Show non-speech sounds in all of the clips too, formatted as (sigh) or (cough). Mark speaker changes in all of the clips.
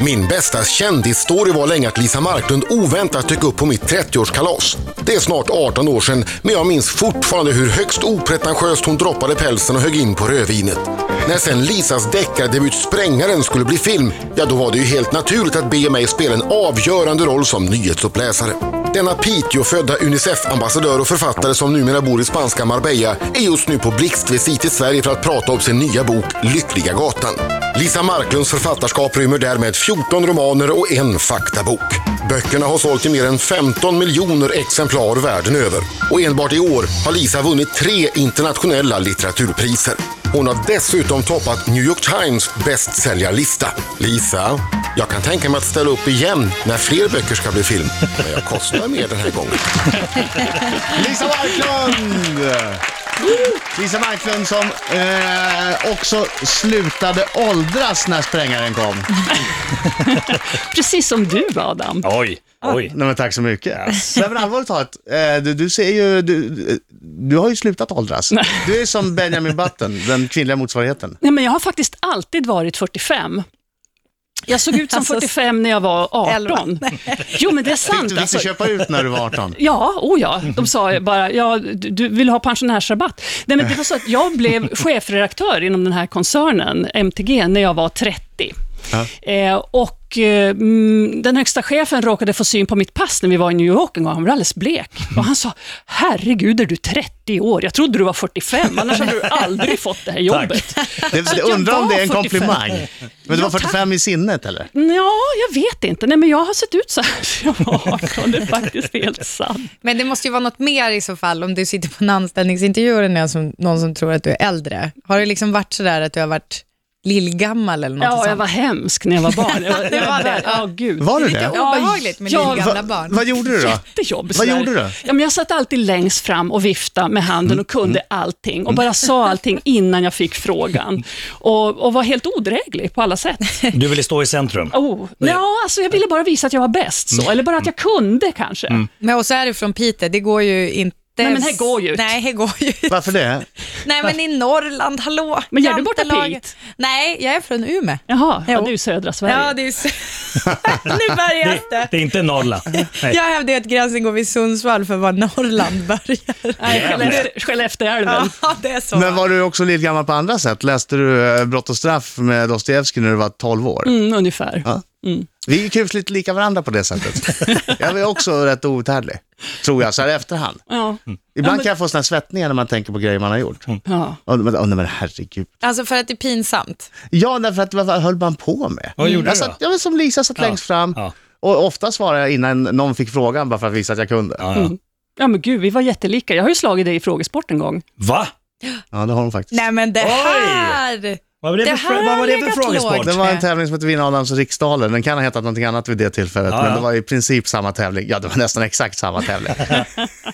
Speaker 1: Min bästa kändisstory var länge att Lisa Marklund oväntat dök upp på mitt 30-årskalas. Det är snart 18 år sedan, men jag minns fortfarande hur högst opretentiöst hon droppade pälsen och högg in på rödvinet. När sen Lisas deckardebut Sprängaren skulle bli film, ja då var det ju helt naturligt att be mig spela en avgörande roll som nyhetsuppläsare. Denna Piteå-födda Unicef-ambassadör och författare som numera bor i spanska Marbella är just nu på blixtvisit i Sverige för att prata om sin nya bok Lyckliga gatan. Lisa Marklunds författarskap rymmer därmed 14 romaner och en faktabok. Böckerna har sålt i mer än 15 miljoner exemplar världen över. Och enbart i år har Lisa vunnit tre internationella litteraturpriser. Hon har dessutom toppat New York Times bästsäljarlista. Lisa, jag kan tänka mig att ställa upp igen när fler böcker ska bli film. Men jag kostar mer den här gången.
Speaker 2: Lisa Marklund! Lisa Marklund som eh, också slutade åldras när sprängaren kom.
Speaker 3: Precis som du Adam.
Speaker 4: Oj, oj.
Speaker 2: Nej, men tack så mycket. Nej, men allvarligt talat, eh, du, du ser ju, du, du har ju slutat åldras. Du är som Benjamin Button, den kvinnliga motsvarigheten.
Speaker 3: Nej, men jag har faktiskt alltid varit 45. Jag såg ut som
Speaker 5: (laughs) Alltså,
Speaker 3: 45 när jag var 18.
Speaker 5: elva.
Speaker 3: Jo, men det är sant.
Speaker 2: Fick du, fick du
Speaker 3: alltså.
Speaker 2: köpa ut när du var (laughs) 18?
Speaker 3: Ja, oh ja.
Speaker 2: Mm-hmm.
Speaker 3: De sa bara, ja, du, du vill ha pensionärsrabatt. Nej, men det var så att
Speaker 2: (laughs)
Speaker 3: jag blev chefredaktör inom den här koncernen, MTG, när jag var 30. Eh, och eh, mm, Den högsta chefen råkade få syn på mitt pass när vi var i New York en gång. Han var alldeles blek. Och han sa, herregud är du 30 år? Jag trodde du var 45, annars hade du
Speaker 2: (laughs)
Speaker 3: aldrig fått det här jobbet.
Speaker 2: Det,
Speaker 3: jag
Speaker 2: undrar om
Speaker 3: var
Speaker 2: det är en
Speaker 3: 45.
Speaker 2: komplimang. Men du var 45 i sinnet eller?
Speaker 3: Ja, jag vet inte. Nej, men jag har sett ut så här (laughs) sedan jag var 18. Det är faktiskt helt sant.
Speaker 5: Men det måste ju vara något mer i så fall om du sitter på en anställningsintervju och det är någon som, någon som tror att du är äldre. Har det liksom varit sådär att du har varit lillgammal eller något
Speaker 3: Ja,
Speaker 5: sånt?
Speaker 3: jag var hemsk när jag var
Speaker 5: (laughs)
Speaker 3: barn. Jag var, jag var där. Ja, gud.
Speaker 2: Var du
Speaker 5: Det är
Speaker 2: det?
Speaker 5: lite obehagligt med
Speaker 3: Ja,
Speaker 5: lillgamla
Speaker 2: Va-
Speaker 5: barn.
Speaker 2: Vad gjorde du (laughs) då?
Speaker 3: Jättejobb.
Speaker 2: Vad
Speaker 3: sådär.
Speaker 2: gjorde du? Mm,
Speaker 3: Ja, men jag satt alltid längst fram och viftade med handen och kunde allting och bara sa allting innan jag fick frågan. Och, och var helt odräglig på alla
Speaker 5: (laughs)
Speaker 3: sätt.
Speaker 4: Du ville stå i centrum.
Speaker 3: Ah. Oh. Ja, alltså jag ville bara visa att jag var bäst,
Speaker 2: Mm.
Speaker 3: så. eller bara att jag kunde kanske.
Speaker 5: Men och så är du från Piteå, det går ju inte...
Speaker 3: Nej, men här går ju ut.
Speaker 5: Nej, här går ju ut.
Speaker 2: Varför det?
Speaker 5: Nej, men i Norrland, hallå.
Speaker 3: Men är du borta
Speaker 5: Jantelagen.
Speaker 3: Pite?
Speaker 5: Nej, jag är från Umeå.
Speaker 3: Jaha, ja,
Speaker 5: Jo.
Speaker 3: du är i södra Sverige.
Speaker 5: Ja, det
Speaker 3: (laughs)
Speaker 5: är... s- nu börjar
Speaker 4: Det,
Speaker 5: det.
Speaker 4: det är inte Norrland. Nej.
Speaker 5: Jag hävdar ju att gränsen går vid Sundsvall för
Speaker 3: (laughs)
Speaker 5: var Norrland börjar.
Speaker 3: Nej, Skellefte- Skellefteälven.
Speaker 5: Ja, det är så.
Speaker 2: Men var du också lillgammal på andra sätt? Läste du eh, Brott och straff med Dostojevskij när du var 12 år?
Speaker 3: Mm, ungefär.
Speaker 2: Ja. Vi är kusligt lika varandra på det sättet. jag är också rätt outhärdlig, tror jag, så här i efterhand.
Speaker 3: Ja. Mm.
Speaker 2: Ibland kan jag få såna här svettningar när man tänker på grejer man har gjort.
Speaker 3: Ja.
Speaker 2: Och, men, åh, nej men herregud.
Speaker 5: Alltså för att det är pinsamt.
Speaker 2: Ja, därför att vad höll man på med?
Speaker 4: Vad gjorde
Speaker 2: jag
Speaker 4: du
Speaker 2: satt,
Speaker 4: då?
Speaker 2: ja, men Som Lisa satt
Speaker 4: Ja,
Speaker 2: längst fram.
Speaker 4: ja.
Speaker 2: Och ofta svarade jag innan någon fick frågan bara för att visa att jag kunde. Ja,
Speaker 4: Ja, ja.
Speaker 3: ja, men gud, vi var jättelika. Jag har ju slagit dig i frågesport en gång.
Speaker 4: Va?
Speaker 2: det har hon faktiskt.
Speaker 5: Nej men det
Speaker 4: Oj!
Speaker 5: här!
Speaker 4: Vad var det,
Speaker 5: Det
Speaker 4: för,
Speaker 5: här
Speaker 4: vad var
Speaker 5: har
Speaker 4: det för
Speaker 5: legat
Speaker 4: frågesport?
Speaker 5: lågt.
Speaker 2: Det var en tävling som hette Vinna Adams riksdaler. Den kan ha hetat någonting annat vid det tillfället,
Speaker 4: Ja,
Speaker 2: men
Speaker 4: ja.
Speaker 2: det var i princip samma tävling. Ja, det var nästan exakt samma tävling.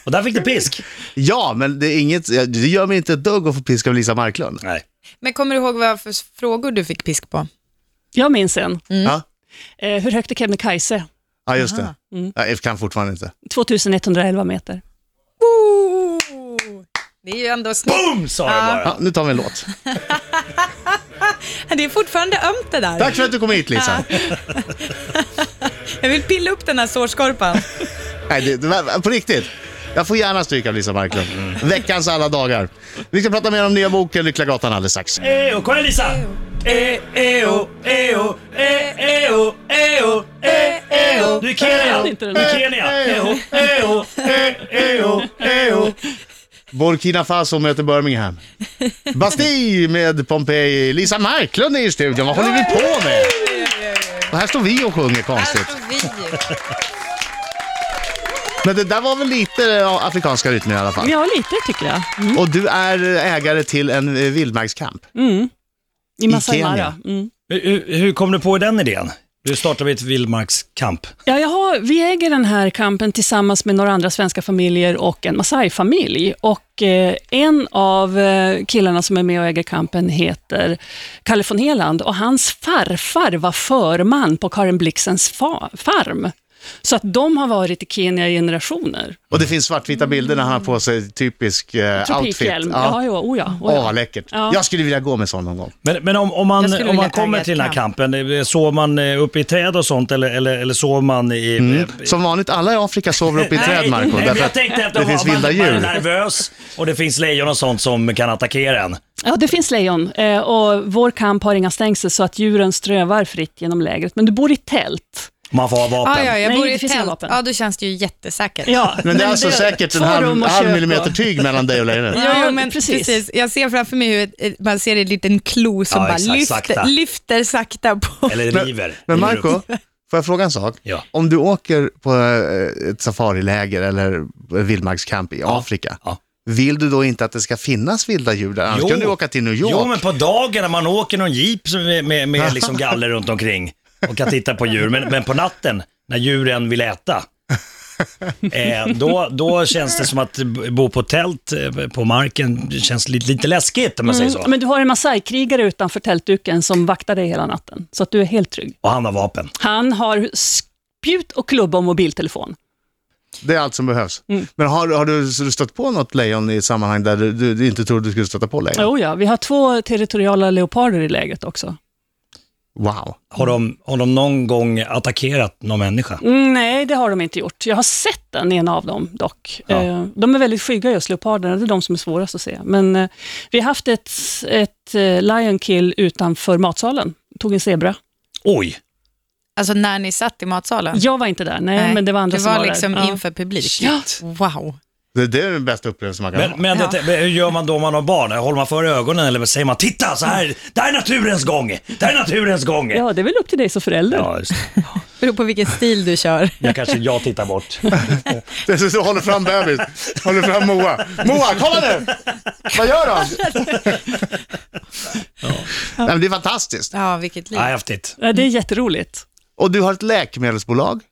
Speaker 4: Och där fick du pisk.
Speaker 2: ja, men det, är inget, det gör mig inte ett dugg att få piska av Lisa Marklund.
Speaker 4: Nej.
Speaker 5: Men kommer du ihåg vad för frågor du fick pisk på?
Speaker 3: Jag minns en.
Speaker 2: Ja?
Speaker 3: Eh, hur högt är Kebnekaise?
Speaker 2: ja, just det. Ja, jag kan fortfarande inte.
Speaker 3: 2111 meter.
Speaker 5: Ooh, det är ju ändå snyggt.
Speaker 4: Boom, sa jag bara.
Speaker 2: Ja, nu tar vi en låt.
Speaker 5: (laughs) Det är fortfarande ömt det där.
Speaker 2: Tack för att du kom hit Lisa.
Speaker 5: Jag vill pilla upp den här sårskorpan.
Speaker 2: Nej, det, det var, på riktigt. Jag får gärna stryk av Lisa Marklund. Veckans alla dagar. Vi ska prata mer om nya boken Lyckliga Gatan alldeles strax.
Speaker 4: Eo, Eh, kolla Lisa! E, eo, eo, e, eo, eo, e, eo. Du är Kenya.
Speaker 3: inte
Speaker 4: Du
Speaker 3: den.
Speaker 4: är Kenya. Eo, eo, e, eo, eo.
Speaker 2: Burkina Faso möter Birmingham. Bastille med Pompeji. Lisa Marklund är i studion. Vad håller vi på med? Och här står vi och sjunger
Speaker 5: Här
Speaker 2: konstigt.
Speaker 5: står Alltså, vi.
Speaker 2: Men det där var väl lite ja, afrikanska rytmer i alla fall.
Speaker 3: Ja, lite tycker jag. Mm.
Speaker 2: Och du är ägare till en eh, vildmarkskamp.
Speaker 3: I Masai
Speaker 2: Kenya.
Speaker 3: Mara. Mm.
Speaker 4: Hur- Hur, hur kom du på den idén? Du startade ett vildmarkskamp.
Speaker 3: Ja, jag har, vi äger den här kampen tillsammans med några andra svenska familjer och en Masai-familj. Och eh, en av eh, killarna som är med och äger kampen heter Kalle von Heland och hans farfar var förman på Karin Blixens fa- farm. Så att de har varit i Kenya i generationer.
Speaker 2: Och det finns svartvita
Speaker 4: Mm.
Speaker 2: bilder när han har på sig typisk eh, outfit.
Speaker 3: Tropikhjälm. Ja, ja, oh ja, oh
Speaker 2: Åh,
Speaker 3: ja.
Speaker 2: vad läckert.
Speaker 3: Ja.
Speaker 2: Jag skulle vilja gå med sån någon gång.
Speaker 4: Men, men om, om
Speaker 5: Jag
Speaker 4: man,
Speaker 5: skulle
Speaker 4: om man
Speaker 5: vilja äga
Speaker 4: kommer
Speaker 5: ett
Speaker 4: till den här
Speaker 5: kamp.
Speaker 4: kampen, eh, sov man eh, uppe i träd och sånt eller, eller, eller sov man i... eh,
Speaker 2: Som vanligt, alla i Afrika sover uppe Mm. i träd, Marco.
Speaker 4: nej, men
Speaker 2: därför
Speaker 4: jag
Speaker 2: att
Speaker 4: tänkte att
Speaker 2: det
Speaker 4: om
Speaker 2: finns
Speaker 4: man,
Speaker 2: vilda
Speaker 4: man är
Speaker 2: djur.
Speaker 4: nervös och det finns lejon och sånt som kan attackera en.
Speaker 3: Ja, det finns lejon eh, och vår kamp har inga stängsel så att djuren strövar fritt genom lägret. Men du bor i tält.
Speaker 4: Man får ha vapen.
Speaker 5: Ja, ja, jag
Speaker 3: Nej,
Speaker 5: bor
Speaker 3: det
Speaker 5: i ett
Speaker 3: finns inga
Speaker 5: tält.
Speaker 3: vapen.
Speaker 5: Ja, då känns det ju jättesäkert.
Speaker 3: Ja,
Speaker 2: Men det är alltså säkert en
Speaker 3: två rum
Speaker 2: halv,
Speaker 3: och
Speaker 2: halv
Speaker 3: kök
Speaker 2: millimeter
Speaker 3: och-
Speaker 2: tyg mellan dig och
Speaker 4: (laughs)
Speaker 2: lejonet.
Speaker 3: Ja,
Speaker 5: Ja,
Speaker 3: ja,
Speaker 5: men
Speaker 3: precis.
Speaker 5: precis. Jag ser framför mig hur ett- ett- man ser en liten klo som
Speaker 4: Ja,
Speaker 5: bara
Speaker 4: exakt,
Speaker 5: lyfter,
Speaker 4: sakta.
Speaker 5: lyfter sakta på.
Speaker 4: Eller
Speaker 2: Men-
Speaker 4: river.
Speaker 2: Men
Speaker 4: River
Speaker 2: Marco,
Speaker 4: upp.
Speaker 2: får jag fråga en sak?
Speaker 4: Ja.
Speaker 2: Om du åker på eh, ett safariläger eller vildmarkskamp i Afrika,
Speaker 4: ja.
Speaker 2: vill du då inte att det ska finnas vilda djur där? Annars kan du åka till New York.
Speaker 4: Jo, men på dagen när man åker någon jeep som- med,
Speaker 2: (laughs)
Speaker 4: med, med liksom galler runt omkring och kan titta på djur. Men, men på natten, när djuren vill äta, eh, då, då känns det som att bo på tält eh, på marken det känns lite, lite läskigt om man säger så.
Speaker 3: Mm. Men du har en masai-krigare utanför tältduken som vaktar dig hela natten, så att du är helt trygg.
Speaker 4: Och han har vapen.
Speaker 3: Han har spjut och klubba och mobiltelefon.
Speaker 2: Det är allt som behövs.
Speaker 4: Mm.
Speaker 2: Men har, har du så du stött på något lejon i sammanhang där du, du, du inte trodde du skulle stöta på lejon?
Speaker 3: Jo, Oh ja, vi har två territoriala leoparder i lägret också.
Speaker 2: Wow.
Speaker 4: Har de, har de någon gång attackerat någon människa?
Speaker 3: Mm, nej, det har de inte gjort. Jag har sett den ena av dem dock.
Speaker 4: Ja.
Speaker 3: Eh, de är väldigt skygga just leoparderna, det är de som är svårast att se. Men eh, vi har haft ett, ett eh, lion kill utanför matsalen, tog en zebra.
Speaker 4: Oj!
Speaker 5: Alltså när ni satt i matsalen?
Speaker 3: Jag var inte där, nej, men det var andra
Speaker 5: det
Speaker 3: som
Speaker 5: var
Speaker 3: var
Speaker 5: liksom
Speaker 3: där. Ja.
Speaker 5: inför publik.
Speaker 3: Ja.
Speaker 5: Wow.
Speaker 2: Det, det är den bästa upplevelsen man kan
Speaker 4: Men,
Speaker 2: ha.
Speaker 4: men det, men hur gör man då om man har barn? Håller man för ögonen eller säger man “Titta, så här, det här är naturens gång! Det här är naturens gång!”
Speaker 3: Ja, det är väl upp till dig som förälder.
Speaker 4: Ja, just det.
Speaker 5: Beror på vilken stil du kör.
Speaker 4: Jag kanske jag tittar bort.
Speaker 2: Det är så- så håller fram bebis, håller fram Moa. Moa, kolla nu! Vad gör han? Nej, men det är fantastiskt.
Speaker 5: Ja, vilket liv.
Speaker 4: Ja, häftigt.
Speaker 3: Ja, Det är jätteroligt.
Speaker 2: Och du har ett läkemedelsbolag.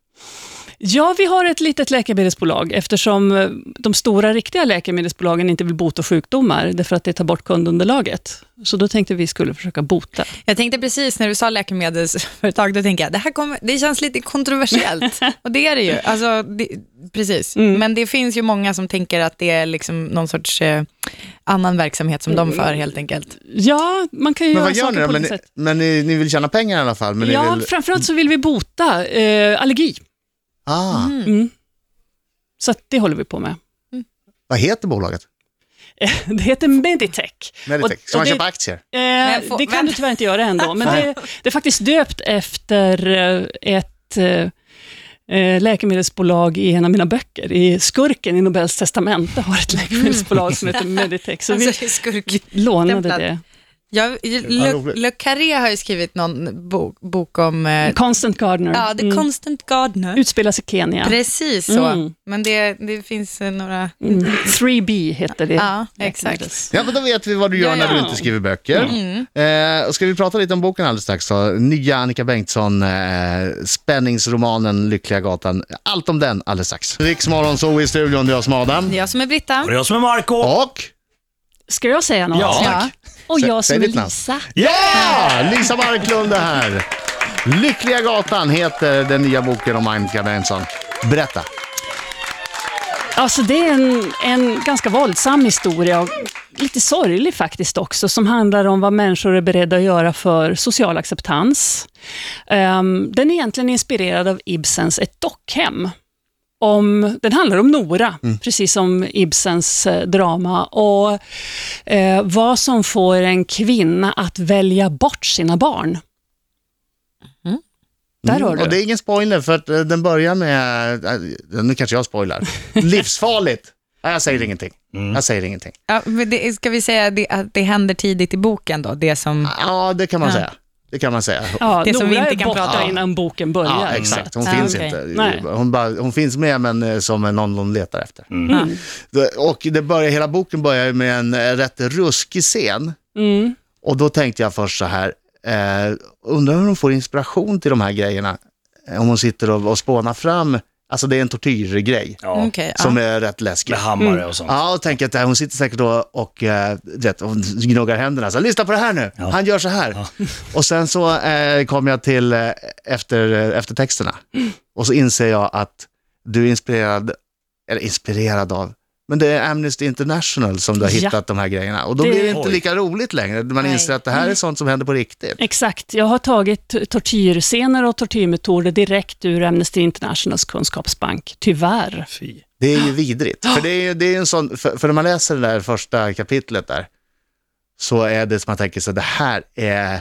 Speaker 3: Ja, vi har ett litet läkemedelsbolag eftersom eh, de stora riktiga läkemedelsbolagen inte vill bota sjukdomar därför att det tar bort kundunderlaget. Så då tänkte vi skulle försöka bota.
Speaker 5: Jag tänkte precis när du sa läkemedelsföretag, då tänkte jag det här kommer, det känns
Speaker 3: (laughs)
Speaker 5: lite kontroversiellt. Och det är det ju. Alltså, det, precis.
Speaker 3: Mm.
Speaker 5: Men det finns ju många som tänker att det är liksom någon sorts eh, annan verksamhet som de för helt enkelt.
Speaker 3: Ja, man kan ju
Speaker 2: Men
Speaker 3: göra
Speaker 2: vad gör ni
Speaker 3: saker
Speaker 2: då?
Speaker 3: på
Speaker 2: Men,
Speaker 3: olika
Speaker 2: ni,
Speaker 3: sätt.
Speaker 2: men ni, ni vill tjäna pengar i alla fall? Men
Speaker 3: Ja,
Speaker 2: ni vill...
Speaker 3: framförallt så vill vi bota eh, allergi.
Speaker 2: ah,
Speaker 3: Mm. Så att det håller vi på med. (laughs)
Speaker 2: Vad heter bolaget?
Speaker 3: Det heter Meditech.
Speaker 2: Meditech.
Speaker 3: Och-
Speaker 2: Ska
Speaker 3: och
Speaker 2: man
Speaker 3: det-
Speaker 2: köpa aktier?
Speaker 3: Eh,
Speaker 5: får-
Speaker 3: det kan
Speaker 5: vänta.
Speaker 3: du tyvärr inte göra ändå, men det, det är faktiskt döpt efter eh, ett eh, eh, läkemedelsbolag i en av mina böcker. I Skurken i Nobels testamente har ett läkemedelsbolag
Speaker 5: (laughs)
Speaker 3: som heter Meditech, så vi
Speaker 5: Mm. Alltså, det är skurk.
Speaker 3: lånade
Speaker 5: stämplat.
Speaker 3: det.
Speaker 5: Jag, Le,
Speaker 2: roligt.
Speaker 5: Le Carré har ju skrivit någon bok, bok om eh,
Speaker 3: Constant Gardener.
Speaker 5: ja, The
Speaker 3: Mm.
Speaker 5: Constant Gardener.
Speaker 3: Utspelas i Kenya.
Speaker 5: Precis så,
Speaker 3: Mm.
Speaker 5: men det, det finns eh, några...
Speaker 3: Mm. 3B heter det.
Speaker 5: Ja,
Speaker 3: läkemedels.
Speaker 5: exakt.
Speaker 2: Ja, men då vet vi vad du gör
Speaker 5: Ja,
Speaker 2: när du
Speaker 3: ja.
Speaker 2: inte skriver böcker. Eh, och ska vi prata lite om boken alldeles strax? Så, nya Annika Bengtsson, eh, spänningsromanen Lyckliga gatan. Allt om den alldeles strax. Riksmorgon, så i studion, det är jag som Adam.
Speaker 5: Det är jag som är Britta.
Speaker 4: Och det är jag som är Marco
Speaker 2: Och...
Speaker 3: Ska jag säga något?
Speaker 4: Ja.
Speaker 5: Ja.
Speaker 3: Och jag
Speaker 2: Säg
Speaker 3: som är
Speaker 2: ditt namn.
Speaker 3: Lisa.
Speaker 2: Ja! Lisa Marklund är här. Lyckliga gatan heter den nya boken om Annika Bengtsson. Berätta.
Speaker 3: Alltså det är en, en ganska våldsam historia, och lite sorglig faktiskt också, som handlar om vad människor är beredda att göra för social acceptans. Ehm, den är egentligen inspirerad av Ibsens Ett dockhem. Om, den handlar om Nora,
Speaker 2: Mm.
Speaker 3: precis som Ibsens eh, drama, och eh, vad som får en kvinna att välja bort sina barn.
Speaker 5: Mm.
Speaker 3: Där hör du.
Speaker 2: Mm. Och det är ingen spoiler för att eh, den börjar med, eh, nu kanske jag spoilar, livsfarligt. Nej, jag säger ingenting. Jag säger ingenting.
Speaker 5: Ja, men det, ska vi säga det, att det händer tidigt i boken då? Det som...
Speaker 2: Ja, det kan man
Speaker 5: Ja.
Speaker 2: säga. Det kan man säga.
Speaker 3: Ja,
Speaker 5: Det
Speaker 3: Nora
Speaker 5: som vi inte
Speaker 3: är
Speaker 5: kan
Speaker 3: borta
Speaker 5: prata
Speaker 2: om.
Speaker 3: innan boken börjar.
Speaker 2: Ja, exakt. Hon
Speaker 5: Ja,
Speaker 2: finns
Speaker 5: okej.
Speaker 2: inte.
Speaker 3: Nej.
Speaker 2: Hon, bara, hon finns med, men eh, som någon de letar efter. Det- Och det börjar, hela boken börjar ju med en eh, rätt ruskig scen.
Speaker 3: Mm.
Speaker 2: Och då tänkte jag först så här, eh, undrar hur hon får inspiration till de här grejerna. Eh, Om hon sitter och, och spånar fram Alltså det är en tortyrgrej
Speaker 4: Ja.
Speaker 5: Mm, Okej, ja.
Speaker 2: som är rätt läskig.
Speaker 4: Med hammare och sånt.
Speaker 2: Ja, och tänker att äh, hon sitter säkert då och äh, vet, hon gnuggar händerna. Så, här, Lyssna på det här nu, han gör så här. (laughs) Och sen så äh, kom jag till äh, efter, äh, eftertexterna. Och så inser jag att du är inspirerad, eller inspirerad av, men det är Amnesty International som du har
Speaker 3: Ja.
Speaker 2: hittat de här grejerna. Och då
Speaker 3: Det-
Speaker 2: blir det inte
Speaker 4: Oj.
Speaker 2: lika roligt längre. Man
Speaker 5: Nej.
Speaker 2: inser att det här är sånt som händer på riktigt.
Speaker 3: Exakt. Jag har tagit t- tortyrscener och tortyrmetoder direkt ur Amnesty Internationals kunskapsbank, tyvärr.
Speaker 4: Fy.
Speaker 2: Det är ju vidrigt. För, det är, ju- det är ju en sån, för, för när man läser det där första kapitlet där, så är det som man tänker sig, det här är,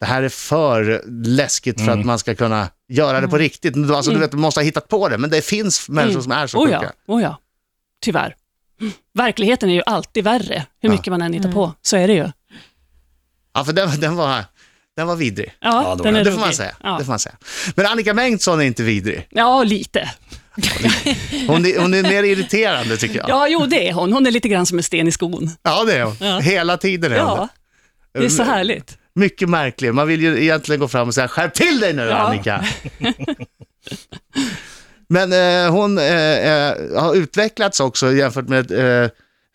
Speaker 2: det här är för läskigt för att
Speaker 3: Mm.
Speaker 2: man ska kunna göra det på riktigt. Men du- Alltså, du vet, du måste ha hittat på det, men det finns människor som är så
Speaker 3: oh
Speaker 2: sjuka.
Speaker 3: ja, oh ja, tyvärr. Verkligheten är ju alltid värre, hur mycket man än hittar på. Så är det ju.
Speaker 2: Ja, för den, den, var, den var vidrig.
Speaker 3: Ja,
Speaker 4: Ja, då
Speaker 3: den
Speaker 4: är
Speaker 3: är
Speaker 2: Det får, man
Speaker 3: rolig.
Speaker 2: säga.
Speaker 3: Ja,
Speaker 2: det får man säga. Men Annika Bengtsson är inte vidrig.
Speaker 3: ja lite.
Speaker 2: Hon är, hon är mer irriterande tycker jag. Ja,
Speaker 3: (laughs) Ja, jo, det är hon. Hon är lite grann som en sten i skon.
Speaker 2: det är hon.
Speaker 3: Ja.
Speaker 2: Hela tiden är hon Mm.
Speaker 3: Ja,
Speaker 2: det.
Speaker 3: det är så härligt.
Speaker 2: Mycket märklig. Man vill ju egentligen gå fram och säga skärp till dig nu
Speaker 3: Ja.
Speaker 2: Annika. (laughs) Men eh, hon eh, eh, har utvecklats också jämfört med eh,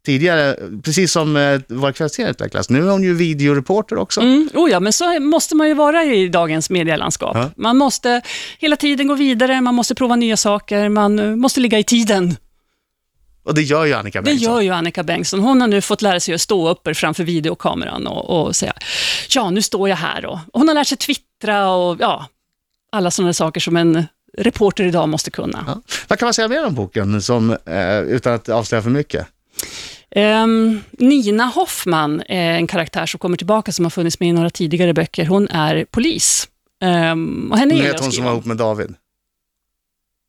Speaker 2: tidigare, precis som eh, våra kvällstidningar utvecklas. Nu är hon ju videoreporter också.
Speaker 3: Mm, oh ja, men så måste man ju vara i dagens medielandskap. Man måste hela tiden gå vidare, man måste prova nya saker, man eh, måste ligga i tiden.
Speaker 2: Och det gör ju Annika
Speaker 3: Det
Speaker 2: Bengtsson.
Speaker 3: gör ju Annika Bengtsson. Hon har nu fått lära sig att stå uppe framför videokameran och, och säga, ja, nu står jag här. Och hon har lärt sig twittra och ja, alla sådana saker som en reporter idag måste kunna.
Speaker 2: Ja. Vad kan man säga mer om boken som, eh, utan att avslöja för mycket?
Speaker 3: Ehm, Nina Hoffman är en karaktär som kommer tillbaka, som har funnits med i några tidigare böcker. Hon är polis. Ehm, och henne
Speaker 2: Ni
Speaker 3: gillar jag
Speaker 2: vet
Speaker 3: att
Speaker 2: hon som
Speaker 3: skriva
Speaker 2: var
Speaker 3: om.
Speaker 2: ihop med David.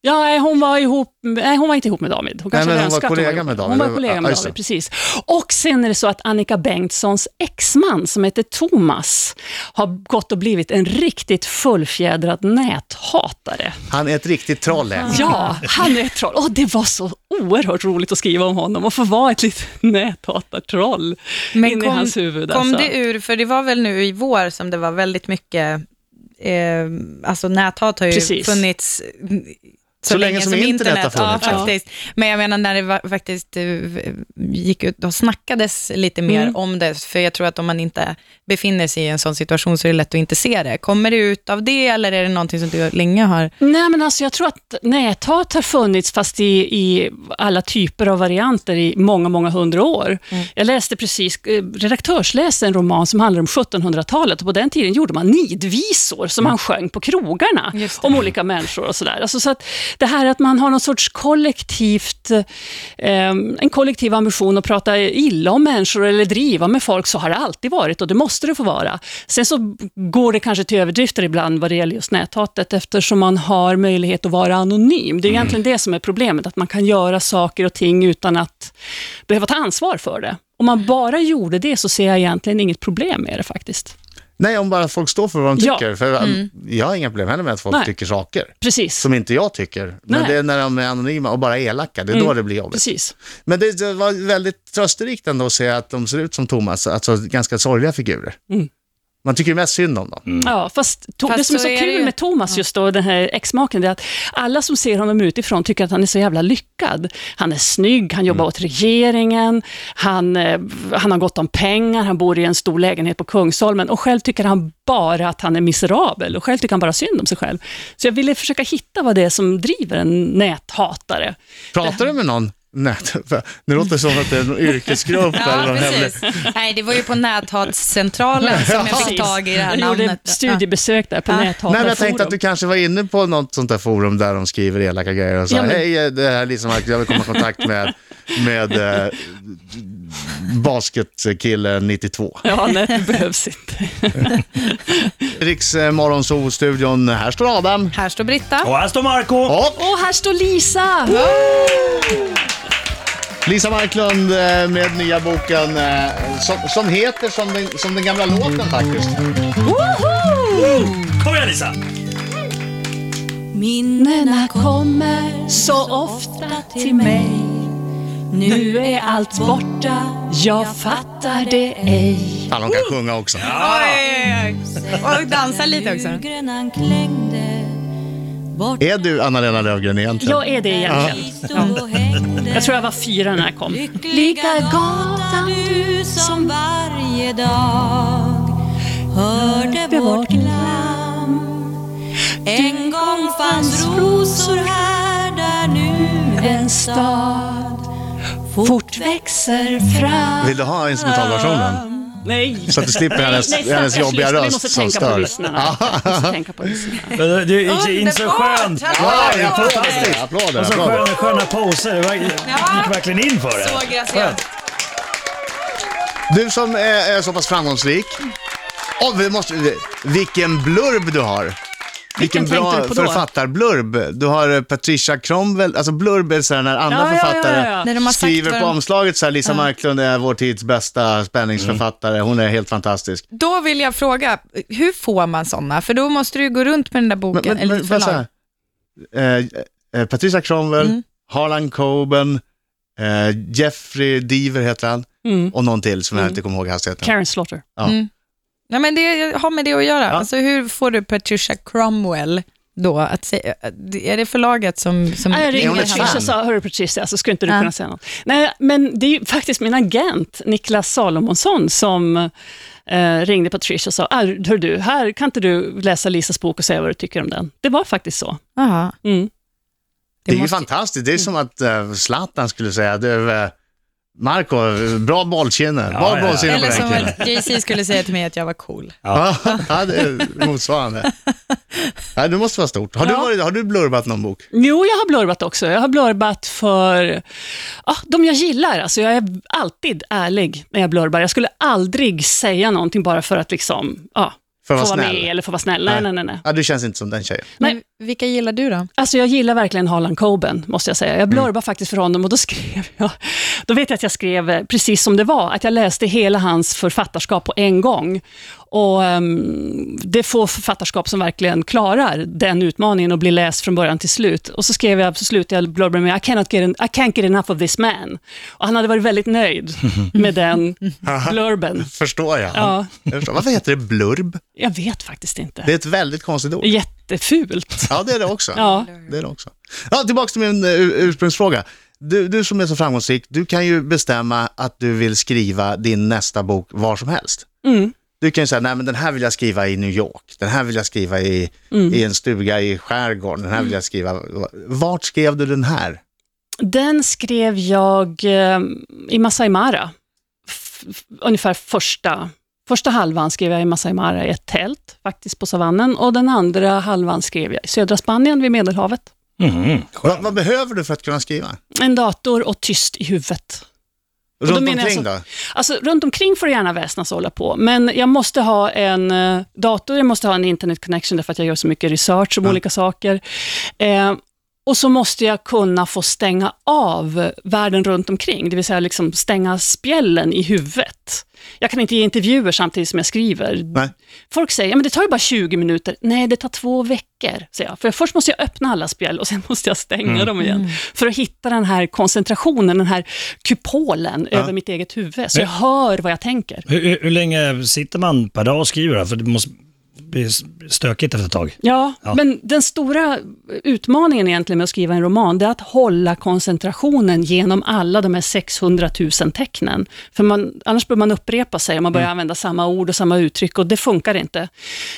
Speaker 3: Ja, nej, hon var, ihop, nej, hon var inte ihop med David. Hon kanske
Speaker 2: men hon
Speaker 3: hade
Speaker 2: var
Speaker 3: önskat att
Speaker 2: kollega
Speaker 3: ihop-
Speaker 2: med David.
Speaker 3: Hon var
Speaker 2: Ja,
Speaker 3: kollega med
Speaker 2: just
Speaker 3: David,
Speaker 2: det.
Speaker 3: precis. Och sen är det så att Annika Bengtssons exman, som heter Thomas, har gått och blivit en riktigt fullfjädrad näthatare.
Speaker 2: Han är ett riktigt troll. är han.
Speaker 3: Ja, han är ett troll. Och det var så oerhört roligt att skriva om honom och få vara ett litet näthatartroll inne i hans huvud.
Speaker 5: kom
Speaker 3: alltså.
Speaker 5: det ur, för det var väl nu i vår som det var väldigt mycket, eh, alltså näthat har ju
Speaker 3: Precis.
Speaker 5: funnits mm, så,
Speaker 2: Så länge som internet har funnits,
Speaker 5: ja,
Speaker 2: ja.
Speaker 5: faktiskt. Men jag menar när det var, faktiskt eh, gick ut och snackades lite mer
Speaker 3: Mm.
Speaker 5: om det, för jag tror att om man inte befinner sig i en sån situation så är det lätt att inte se det. Kommer det ut av det eller är det någonting som du länge har...
Speaker 3: Nej, men alltså jag tror att näthat har funnits, fast i, i alla typer av varianter i många, många hundra år.
Speaker 5: Mm.
Speaker 3: Jag läste precis, eh, redaktörsläste en roman som handlar om 1700-talet och på den tiden gjorde man nidvisor som man sjöng på krogarna
Speaker 5: Mm. Just det.
Speaker 3: om olika människor och sådär. Alltså, så att det här att man har någon sorts kollektivt, eh, en kollektiv ambition att prata illa om människor eller driva med folk, så har det alltid varit och det måste det få vara. Sen så går det kanske till överdrifter ibland vad det gäller just näthatet, eftersom man har möjlighet att vara anonym. Det är egentligen det som är problemet, att man kan göra saker och ting utan att behöva ta ansvar för det. Om man bara gjorde det så ser jag egentligen inget problem med det faktiskt.
Speaker 2: Nej, om bara folk står för vad de
Speaker 3: Ja. Mm.
Speaker 2: tycker. För, eh, Jag har inga problem heller med att folk
Speaker 3: Nej.
Speaker 2: tycker saker.
Speaker 3: Precis.
Speaker 2: som inte jag tycker. Men
Speaker 3: Nej. Mm.
Speaker 2: det är när de är anonyma och bara elaka, det är då det blir jobbigt.
Speaker 3: Precis.
Speaker 2: Men det, det var väldigt trösterikt ändå att se att de ser ut som Thomas, alltså ganska sorgliga figurer.
Speaker 3: Mm.
Speaker 2: Man tycker ju mest synd om dem.
Speaker 3: Ja, fast, to-
Speaker 5: Fast
Speaker 3: det som är
Speaker 5: så
Speaker 3: så
Speaker 5: är det
Speaker 3: kul
Speaker 5: ju.
Speaker 3: med Thomas just då, den här exmaken, det är att alla som ser honom utifrån tycker att han är så jävla lyckad. Han är snygg, han jobbar
Speaker 2: Mm.
Speaker 3: åt regeringen, han, eh, han har gott om pengar, han bor i en stor lägenhet på Kungsholmen och själv tycker han bara att han är miserabel och själv tycker han bara synd om sig själv. Så jag ville försöka hitta vad det är som driver en näthatare.
Speaker 2: Pratar du med någon? Nej, nu låter det som att det är en
Speaker 3: (laughs)
Speaker 2: yrkesgrupp eller någon hemlig.
Speaker 5: Nej, det var (laughs) ju på näthatscentralen som jag fick
Speaker 3: Precis.
Speaker 5: tag i det här
Speaker 3: jag gjorde
Speaker 5: namnet.
Speaker 3: studiebesök där på
Speaker 5: Ja.
Speaker 2: Nej, men
Speaker 3: näthatarforum.
Speaker 2: jag tänkte att du kanske var inne på något sånt där forum där de skriver elaka grejer och sa
Speaker 3: Ja, men-
Speaker 2: hej, eh, det här är Lisa Mark, jag vill komma i kontakt med, med eh, basketkillen 92.
Speaker 3: Ja, nej, det behövs inte.
Speaker 2: Riks eh, Morgonzoo-studion, här står Adam.
Speaker 5: Här står Britta.
Speaker 4: Och här står Marco
Speaker 2: Och
Speaker 3: Åh, här står Lisa!
Speaker 2: Lisa Marklund eh, med nya boken eh, som, som heter som den, som den gamla låten faktiskt.
Speaker 4: Kom igen Lisa!
Speaker 3: Minnena kommer så ofta till mig Nu är allt borta, jag fattar det ej
Speaker 2: Fan, hon kan sjunga också.
Speaker 4: Ah.
Speaker 5: Oj, oj, oj. Och dansa lite också.
Speaker 6: Grönan klängde Bort
Speaker 2: Är du Anna-Lena Löfgren egentligen?
Speaker 3: Jag är det egentligen.
Speaker 6: stod och hängde
Speaker 3: Jag tror jag var fyra när jag kom.
Speaker 6: Lyckliga gatan du som varje dag hörde vårt glam. En gång fanns rosor här där nu en stad fort växer fram.
Speaker 2: Vill du ha instrumentalversionen?
Speaker 3: Nej.
Speaker 2: Så att du slipper hennes,
Speaker 3: Nej,
Speaker 2: hennes
Speaker 3: stackars
Speaker 2: jobbiga
Speaker 3: lyssnare. Vi
Speaker 2: röst
Speaker 3: måste
Speaker 2: som
Speaker 3: tänka på
Speaker 2: stör.
Speaker 3: lyssnarna. Vi måste tänka
Speaker 2: (laughs)
Speaker 3: på lyssnarna.
Speaker 4: Men det- Det gick in så
Speaker 5: Underbart!
Speaker 4: skönt.
Speaker 5: Ja,
Speaker 2: Ja, fantastiskt!
Speaker 4: Och
Speaker 2: Applåder,
Speaker 4: så
Speaker 2: applåder.
Speaker 4: sköna, sköna poser. Det var- gick verkligen in för det.
Speaker 5: Så graciöst.
Speaker 2: Du som är, är så pass framgångsrik. Oh, vi måste, vilken blurb du har! Vilken
Speaker 3: tänkte
Speaker 2: bra
Speaker 3: du på då?
Speaker 2: författarblurb. Du har eh, Patricia Cromwell, alltså blurb är så här när andra
Speaker 3: Ja, ja, ja,
Speaker 2: författare
Speaker 3: ja.
Speaker 5: När de har sagt
Speaker 2: skriver
Speaker 5: vad
Speaker 2: på
Speaker 5: de-
Speaker 2: omslaget så här, Lisa Marklund är vår tids bästa spänningsförfattare, hon är helt fantastisk.
Speaker 5: Då vill jag fråga, hur får man sådana? För då måste du ju gå runt med den där boken.
Speaker 2: Men, men,
Speaker 5: eller
Speaker 2: men
Speaker 5: ditt
Speaker 2: bara så
Speaker 5: förlag.
Speaker 2: här. Eh, eh, Patricia Cromwell,
Speaker 3: Mm.
Speaker 2: Harlan Coben, eh, Jeffrey Deaver heter han
Speaker 3: Mm.
Speaker 2: och någon till som jag inte kommer ihåg hastigheten.
Speaker 3: Karen Slaughter.
Speaker 5: Nej, men det har med det att göra. Alltså, hur får du Patricia Cromwell då? Att säga, är det förlaget som, som
Speaker 3: Nej, jag
Speaker 2: Mm. hon
Speaker 3: ringde
Speaker 2: ett
Speaker 3: Patricia
Speaker 2: fan?
Speaker 3: och sa, hörru Patricia, så skulle inte du
Speaker 5: Ja.
Speaker 3: kunna säga något. Nej, men det är ju faktiskt min agent, Niklas Salomonsson, som eh, ringde Patricia och sa, "Ah, hör du, här kan inte du läsa Lisas bok och säga vad du tycker om den. Det var faktiskt så.
Speaker 5: Jaha.
Speaker 3: Mm.
Speaker 2: Det är ju
Speaker 5: måste-
Speaker 2: fantastiskt. Det är som att eh, Zlatan skulle säga, du, eh, Marco, bra bollkinne.
Speaker 4: Ja,
Speaker 2: bra
Speaker 4: ja, ja.
Speaker 2: bollkinne på
Speaker 5: Eller
Speaker 2: den
Speaker 5: som
Speaker 2: killen.
Speaker 5: att Jay-Z skulle säga till mig att jag var cool.
Speaker 2: Ja, (laughs) ja, det är motsvarande. Ja, det måste vara stort. Har, du,
Speaker 3: Ja.
Speaker 2: varit, har du blurbat någon bok?
Speaker 3: Jo, jag har blurbat också. Jag har blurbat för ah, de jag gillar. Alltså, jag är alltid ärlig när jag blurbar. Jag skulle aldrig säga någonting bara för att liksom, ah,
Speaker 2: För att
Speaker 3: få
Speaker 2: vara
Speaker 3: vara med
Speaker 2: snäll?
Speaker 3: eller få vara snäll. Nej, nej, nej. nej.
Speaker 2: Ja, du känns inte som den tjejen.
Speaker 3: Nej.
Speaker 5: Men Vilka gillar du då?
Speaker 3: Alltså jag gillar verkligen Harlan Coben, måste jag säga. Jag blurbar faktiskt för honom och då (laughs) skrev jag, då vet jag att jag skrev eh, precis som det var, att jag läste hela hans författarskap på en gång. Och ehm, det är få författarskap som verkligen klarar den utmaningen och blir läst från början till slut. Och så skrev jag, så slutade jag blurben med I, cannot get en, I can't get enough of this man. Och han hade varit väldigt nöjd med den blurben.
Speaker 2: Förstår jag.
Speaker 3: Ja,
Speaker 2: jag förstår. Varför heter det blurb?
Speaker 3: jag vet faktiskt inte.
Speaker 2: Det är ett väldigt konstigt ord.
Speaker 3: Jättefult.
Speaker 2: Ja, det är det också.
Speaker 3: Ja.
Speaker 2: Det är det också. Ja, tillbaka till min eh, ur- ursprungsfråga. Du, du som är så framgångsrik, du kan ju bestämma att du vill skriva din nästa bok var som helst.
Speaker 3: Mm.
Speaker 2: Du kan ju säga, nej men den här vill jag skriva i New York, den här vill jag skriva i,
Speaker 3: Mm.
Speaker 2: i en stuga i skärgården, den här vill jag skriva... Vart skrev du den här?
Speaker 3: Den skrev jag eh, i Masai Mara. F- f- ungefär första, första halvan skrev jag i Masai Mara i ett tält, faktiskt på savannen. Och den andra halvan skrev jag i södra Spanien vid Medelhavet.
Speaker 4: Mhm.
Speaker 2: Va, vad behöver du för att kunna skriva?
Speaker 3: En dator och tyst i huvudet. då
Speaker 2: Runt
Speaker 3: menar jag
Speaker 2: omkring
Speaker 3: så-
Speaker 2: då?
Speaker 3: Alltså, runt omkring får det gärna väsnas och hålla på, men jag måste ha en eh, dator, jag måste ha en internet connection därför att jag gör så mycket research om olika saker. Eh, och så måste jag kunna få stänga av världen runt omkring, det vill säga liksom stänga spjällen i huvudet. Jag kan inte ge intervjuer samtidigt som jag skriver.
Speaker 2: Nej.
Speaker 3: Folk säger, ja, men det tar ju bara 20 minuter. Nej, det tar två veckor, säger jag. För först måste jag öppna alla spjäll och sen (laughs) måste jag stänga dem igen. För att hitta den här koncentrationen, den här kupolen över mitt eget huvud. Så jag hör vad jag tänker.
Speaker 4: Hur, hur, hur länge sitter man per dag och skriver? då? För det måste bli stökigt efter ett tag.
Speaker 3: Ja,
Speaker 4: Ja.
Speaker 3: men den stora utmaningen egentligen med att skriva en roman, det är att hålla koncentrationen genom alla de här 600 000 tecknen. För man, annars börjar man upprepa sig och man
Speaker 2: Mm.
Speaker 3: börjar använda samma ord och samma uttryck och det funkar inte.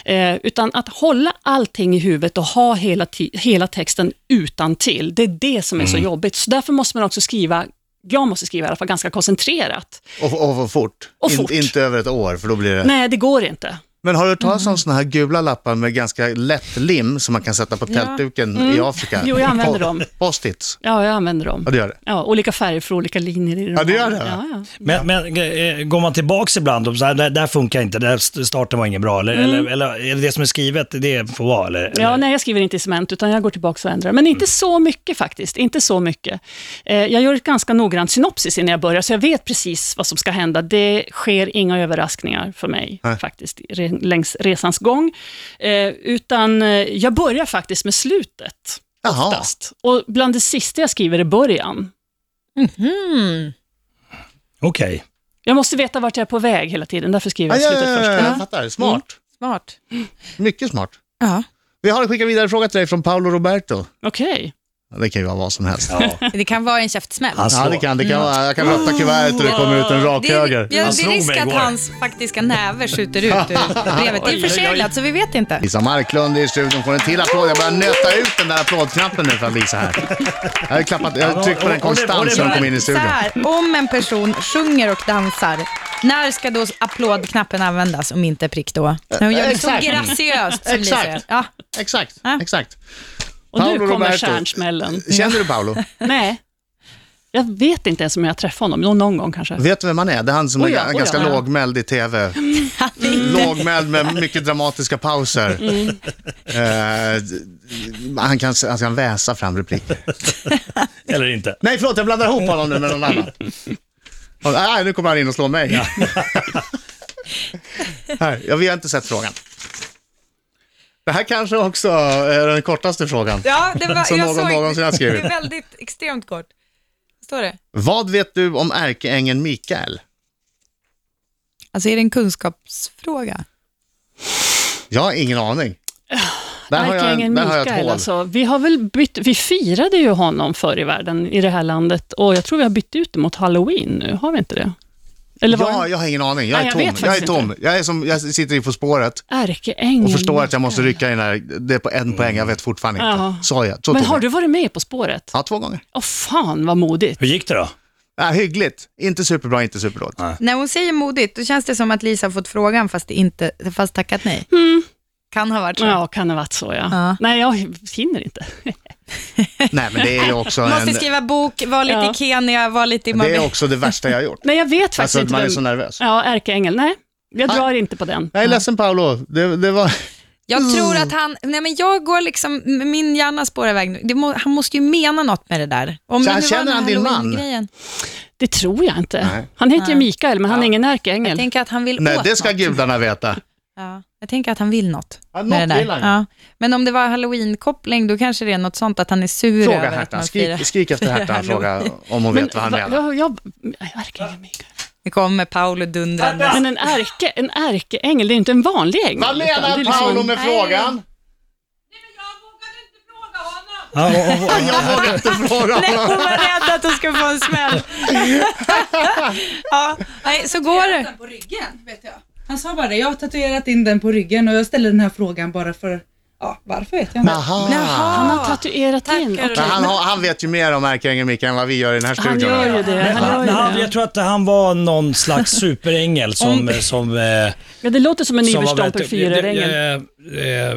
Speaker 3: Eh, utan att hålla allting i huvudet och ha hela, ti- hela texten utan till, det är det som är så
Speaker 2: Mm.
Speaker 3: jobbigt. Så därför måste man också skriva, jag måste skriva i alla fall ganska koncentrerat.
Speaker 2: Och, och fort?
Speaker 3: Och fort.
Speaker 2: In, inte över ett år, för då blir det...
Speaker 3: Nej, det går inte.
Speaker 2: Men har du hört talas
Speaker 3: Mhm.
Speaker 2: om såna här gula lappar med ganska lätt lim som man kan sätta på tältduken i Afrika?
Speaker 3: Mm. Jo, jag använder dem.
Speaker 2: Post-its.
Speaker 3: Ja, jag använder dem.
Speaker 2: Ja, du gör det.
Speaker 3: Ja, olika färger för olika linjer i romanen.
Speaker 2: det gör det.
Speaker 3: Ja, ja.
Speaker 4: Men, men eh, går man tillbaks ibland och så här, där, där funkar inte, där st- starten var ingen bra, eller,
Speaker 5: Mm.
Speaker 4: eller, eller är det det som är skrivet, det får vara? Eller,
Speaker 3: Ja,
Speaker 4: eller?
Speaker 3: nej, jag skriver inte i cement, utan jag går tillbaka och ändrar. Men
Speaker 2: Mm.
Speaker 3: inte så mycket faktiskt. Inte så mycket. Eh, jag gör ett ganska noggrant synopsis innan jag börjar, så jag vet precis vad som ska hända. Det sker inga överraskningar för mig, faktiskt, re- längs resans gång. Eh, utan eh, jag börjar faktiskt med slutet,
Speaker 2: Jaha.
Speaker 3: oftast. Och bland det sista jag skriver är början.
Speaker 5: Mm.
Speaker 4: Okej.
Speaker 3: Jag måste veta vart jag är på väg hela tiden, därför skriver
Speaker 2: Ja,
Speaker 3: jag Mm.
Speaker 2: ja,
Speaker 3: slutet
Speaker 2: ja,
Speaker 3: först.
Speaker 2: ja, jag fattar. Smart.
Speaker 5: Smart.
Speaker 2: Mycket smart.
Speaker 5: Ja.
Speaker 2: Vi har skickat vidare en fråga till dig från Paolo Roberto.
Speaker 3: Okej.
Speaker 2: Ja, Det kan ju vara vad som helst.
Speaker 4: Ja.
Speaker 5: Det kan vara en käftsmäll.
Speaker 4: Han
Speaker 2: Ja, det
Speaker 4: slår.
Speaker 2: kan, det kan vara. Jag kan öppna
Speaker 3: Mm.
Speaker 2: kuvertet och det kommer ut en rak
Speaker 5: Det är,
Speaker 2: höger.
Speaker 5: ja,
Speaker 4: Han
Speaker 5: det är
Speaker 4: slog mig
Speaker 5: risk att
Speaker 4: igår.
Speaker 5: hans faktiska näve skjuter ut ur brevet. Det
Speaker 4: Oj, oj,
Speaker 5: är
Speaker 4: oj.
Speaker 5: förseglat, så vi vet inte.
Speaker 2: Lisa Marklund i studion får en till applåd. Jag börjar nöta ut den där applådknappen nu för att Lisa här. Jag har, klappat, jag har tryckt på den konstant sedan hon kom in i
Speaker 5: Så
Speaker 2: studion.
Speaker 5: här, om en person sjunger och dansar, när ska då applådknappen användas om inte prick då? När hon gör det så
Speaker 2: Exakt.
Speaker 5: graciöst som Lisa
Speaker 2: Exakt.
Speaker 5: gör. Ja,
Speaker 2: Exakt,
Speaker 5: Ja.
Speaker 2: exakt.
Speaker 3: Och nu
Speaker 2: Paolo
Speaker 3: kommer
Speaker 2: Roberto.
Speaker 3: stjärnsmällen.
Speaker 2: Känner du
Speaker 3: (laughs)
Speaker 2: Paolo?
Speaker 3: Nej, jag vet inte ens om jag träffar honom. Någon, någon gång kanske.
Speaker 2: Vet du vem han är? Det är han som
Speaker 3: Oh ja,
Speaker 2: är
Speaker 3: oh ja,
Speaker 2: ganska
Speaker 3: ja.
Speaker 2: lågmäld i
Speaker 3: (laughs)
Speaker 2: tv. Lågmäld med mycket dramatiska pauser.
Speaker 3: Mm.
Speaker 2: Eh, han, kan, han kan väsa fram repliker.
Speaker 4: (laughs) Eller inte.
Speaker 2: (laughs) Nej, förlåt, jag blandar ihop honom nu med någon annan. Och, nej, nu kommer han in och slår mig. (laughs) här, ja, vi har inte sett frågan. Det här kanske också är den kortaste frågan.
Speaker 5: ja det var,
Speaker 2: Som någon någonsin har skrivit.
Speaker 5: Det är väldigt extremt kort. Står det?
Speaker 2: Vad vet du om ärkeängeln Mikael?
Speaker 5: Alltså är det en kunskapsfråga?
Speaker 2: Jag har ingen aning. Där har jag,
Speaker 3: Ärkeängeln
Speaker 2: där har jag ett
Speaker 3: Mikael,
Speaker 2: hål.
Speaker 3: alltså. Vi har väl bytt, vi firade ju honom förr i världen i det här landet och jag tror vi har bytt ut det mot halloween nu, har vi inte det? Eller var
Speaker 2: Ja,
Speaker 3: det
Speaker 2: jag har ingen aning. Jag är
Speaker 3: Nej, jag
Speaker 2: tom.
Speaker 3: vet
Speaker 2: Jag, är
Speaker 3: faktiskt Mm.
Speaker 2: tom. Jag, är som, jag sitter i På spåret
Speaker 3: ärkeängeln?
Speaker 2: och förstår att jag måste rycka in här. Det är på en poäng. Jag vet fortfarande inte.
Speaker 3: Ja.
Speaker 2: Så jag. Så
Speaker 3: Men
Speaker 2: tom.
Speaker 3: har du varit med På spåret?
Speaker 2: Ja, två gånger.
Speaker 3: Åh fan vad modigt.
Speaker 4: Hur gick det då?
Speaker 2: Ja, hyggligt. Inte superbra, inte superdåligt.
Speaker 5: När hon säger modigt, då känns det som att Lisa har fått frågan fast, det inte, fast tackat nej. Kan ha varit så.
Speaker 3: Ja, kan ha varit så ja.
Speaker 5: Ja.
Speaker 3: Nej, jag hinner inte.
Speaker 2: Nej, men
Speaker 3: (laughs)
Speaker 2: det är ju också, en,
Speaker 5: Måste skriva bok, vara lite
Speaker 3: Ja.
Speaker 5: i Kenya, vara lite i
Speaker 2: det, är
Speaker 5: Marbella.
Speaker 2: också det värsta jag har gjort.
Speaker 3: Nej, jag vet (laughs) faktiskt
Speaker 2: Alltså,
Speaker 3: inte
Speaker 2: man är Ah.
Speaker 3: vem-
Speaker 2: så nervös.
Speaker 3: Ja, ärkeängel. Nej, jag drar inte på den.
Speaker 2: Jag är ledsen Paolo, det, det
Speaker 3: (laughs)
Speaker 2: var...
Speaker 5: Jag tror att han, nej men jag går liksom, min hjärna spårar iväg nu. Det må, han måste ju mena något med det där. Om
Speaker 2: Så
Speaker 5: det
Speaker 2: han
Speaker 5: nu var
Speaker 2: känner
Speaker 5: den
Speaker 2: han din man?
Speaker 5: Halloween-grejen.
Speaker 3: Det tror jag inte.
Speaker 2: Nej.
Speaker 3: Han heter ju Mikael, men han är ingen
Speaker 5: Jag
Speaker 3: ärkeängel.
Speaker 5: tänker att han vill
Speaker 2: Nej,
Speaker 5: åt
Speaker 2: det ska
Speaker 5: något.
Speaker 2: gudarna veta.
Speaker 5: Ja, jag tänker att han vill något.
Speaker 2: Ja,
Speaker 5: med
Speaker 2: något
Speaker 5: det där.
Speaker 2: vill han ju.
Speaker 5: ja. Men om det var halloween-koppling, då kanske det är något sånt att han är sur
Speaker 2: Fråga
Speaker 5: över att
Speaker 2: Hertan,
Speaker 5: man
Speaker 2: skrik, skrik
Speaker 3: (laughs)
Speaker 2: efter
Speaker 5: firar
Speaker 2: Hertan och
Speaker 5: Halloween.
Speaker 2: fråga om hon vet vad han
Speaker 3: va-
Speaker 2: menar.
Speaker 3: jag- jag- ärkeängel, Mikael.
Speaker 5: Nu kommer Paolo dundrande.
Speaker 3: Men en, ärke, en ärkeängel, det är ju inte en vanlig ängel.
Speaker 2: Vad
Speaker 3: utan det är
Speaker 2: menar
Speaker 3: liksom-
Speaker 2: Paolo med frågan?
Speaker 4: Ja, och- och- och-
Speaker 2: (laughs) Jag vågar inte fråga
Speaker 5: Nej,
Speaker 2: honom.
Speaker 5: hon var rädd att hon skulle få en smäll. (laughs) ja, nej, så går det.
Speaker 7: den på ryggen, vet jag. Han sa bara det, jag har tatuerat in den på ryggen och jag ställer den här frågan bara för, ja varför vet jag inte.
Speaker 2: Aha.
Speaker 3: Ah. Han har tatuerat in.
Speaker 5: Tackar.
Speaker 3: okej.
Speaker 2: Men han, har- han vet ju mer om ärkeängeln Mikael än vad vi gör i den här
Speaker 3: Han
Speaker 2: studion.
Speaker 3: gör ju det.
Speaker 4: Men
Speaker 3: Han
Speaker 4: han,
Speaker 3: gör
Speaker 4: han,
Speaker 3: ju det.
Speaker 4: jag tror att han var någon slags superängel som... som, eh,
Speaker 3: Ja, det låter som en
Speaker 4: som var
Speaker 3: Iverstomper fyrerängel.
Speaker 4: eh, eh,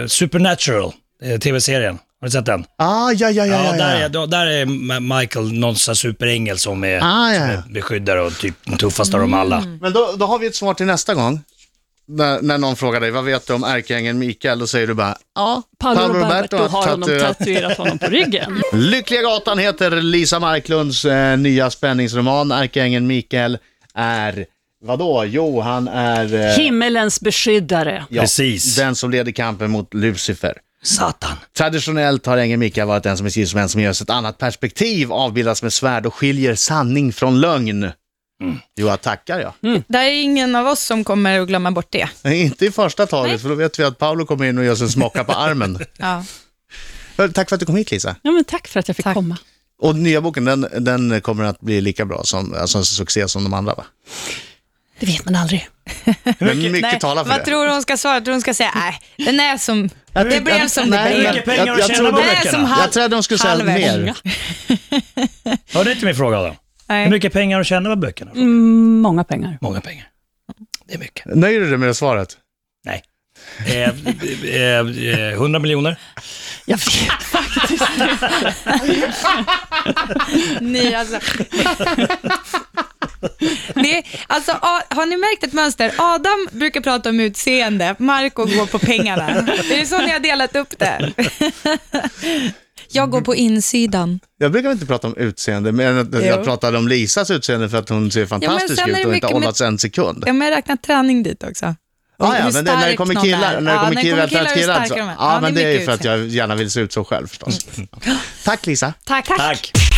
Speaker 4: eh, Supernatural, eh, tv-serien. Har du sett den?
Speaker 2: Ah, ja, ja, ja.
Speaker 4: Ja,
Speaker 2: ja,
Speaker 4: Där,
Speaker 2: ja.
Speaker 4: är, då- där är Ma- Michael någon slags superängel som är,
Speaker 2: Ah, ja.
Speaker 4: som är beskyddare och typ den tuffaste av dem alla.
Speaker 3: Mm.
Speaker 2: Men då, då har vi ett svar till nästa gång. När, när någon frågar dig, vad vet du om ärkeängeln Mikael? Då säger du bara, ja,
Speaker 3: Paolo, Roberto, har honom
Speaker 2: tatuerat-
Speaker 3: tatuerat honom på ryggen.
Speaker 2: Lyckliga gatan heter Lisa Marklunds eh, nya spänningsroman. Ärkeängeln Mikael är, vadå? Jo, han är... (laughs) eh,
Speaker 3: Himmelens beskyddare.
Speaker 2: ja,
Speaker 4: Precis.
Speaker 2: Den som leder kampen mot Lucifer.
Speaker 4: Satan.
Speaker 2: Traditionellt har ängeln Mikael varit den som beskrivs som en som ger oss ett annat perspektiv, avbildas med svärd och skiljer sanning från lögn.
Speaker 4: Mm.
Speaker 2: Jo, jag tackar jag.
Speaker 5: Det är ingen av oss som kommer att glömma bort det.
Speaker 2: Nej, (laughs) inte i första taget, för då vet vi att Paolo kommer in och gör sig en smocka på armen.
Speaker 5: Ja.
Speaker 2: Tack för att du kom hit Lisa.
Speaker 3: Ja, men tack för att jag fick komma.
Speaker 2: Och nya boken, den, den kommer att bli lika bra som, alltså en succé som de
Speaker 5: (laughs)
Speaker 2: andra va?
Speaker 3: Det vet man aldrig.
Speaker 2: Men mycket talar för
Speaker 5: vad
Speaker 2: det.
Speaker 5: tror du hon ska svara? Tror hon ska säga, nej, den är som, det blev som det
Speaker 2: Nej,
Speaker 5: blev.
Speaker 4: Mycket pengar
Speaker 2: jag-
Speaker 4: att
Speaker 2: jag
Speaker 4: tjäna
Speaker 2: trodde-
Speaker 4: på
Speaker 5: Nej, som
Speaker 4: böckerna.
Speaker 5: han-
Speaker 2: Jag trodde de skulle säga
Speaker 5: Halvvägs.
Speaker 2: mer.
Speaker 4: Hörde du inte min fråga då?
Speaker 5: Nej.
Speaker 4: Hur mycket pengar att tjäna på böckerna?
Speaker 3: Mm, många pengar.
Speaker 4: Många pengar. Det är mycket.
Speaker 2: Nöjer du dig med det svaret?
Speaker 4: Nej. Eh, eh, eh, 100 miljoner?
Speaker 3: Jag vet faktiskt
Speaker 5: Ni, alltså. (laughs) Det, är- alltså, A- har ni märkt ett mönster? Adam brukar prata om utseende, Marco går på pengarna. Är det så ni har delat
Speaker 2: (laughs)
Speaker 5: upp det? Jag går på insidan.
Speaker 2: Jag brukar inte prata om utseende, men jag, jag
Speaker 5: Jo.
Speaker 2: pratade om Lisas utseende för att hon ser fantastisk
Speaker 5: sen är
Speaker 2: ut
Speaker 5: det
Speaker 2: och inte
Speaker 5: mycket
Speaker 2: har
Speaker 5: med-
Speaker 2: åldrats en sekund.
Speaker 5: Ja, men jag räknar träning dit också. Och
Speaker 2: Ah, Ja, ja,
Speaker 5: hur
Speaker 2: men det, när det
Speaker 5: stark
Speaker 2: kommer
Speaker 5: någon
Speaker 2: killar,
Speaker 5: är.
Speaker 2: när det
Speaker 5: Ja,
Speaker 2: kommer killar, killar
Speaker 5: hur
Speaker 2: killar
Speaker 5: starka
Speaker 2: så.
Speaker 5: de är.
Speaker 2: Ja, men det är ju
Speaker 5: mycket
Speaker 2: för att
Speaker 5: utseende.
Speaker 2: jag gärna vill se ut så själv förstås. Tack Lisa.
Speaker 5: Tack.
Speaker 4: Tack.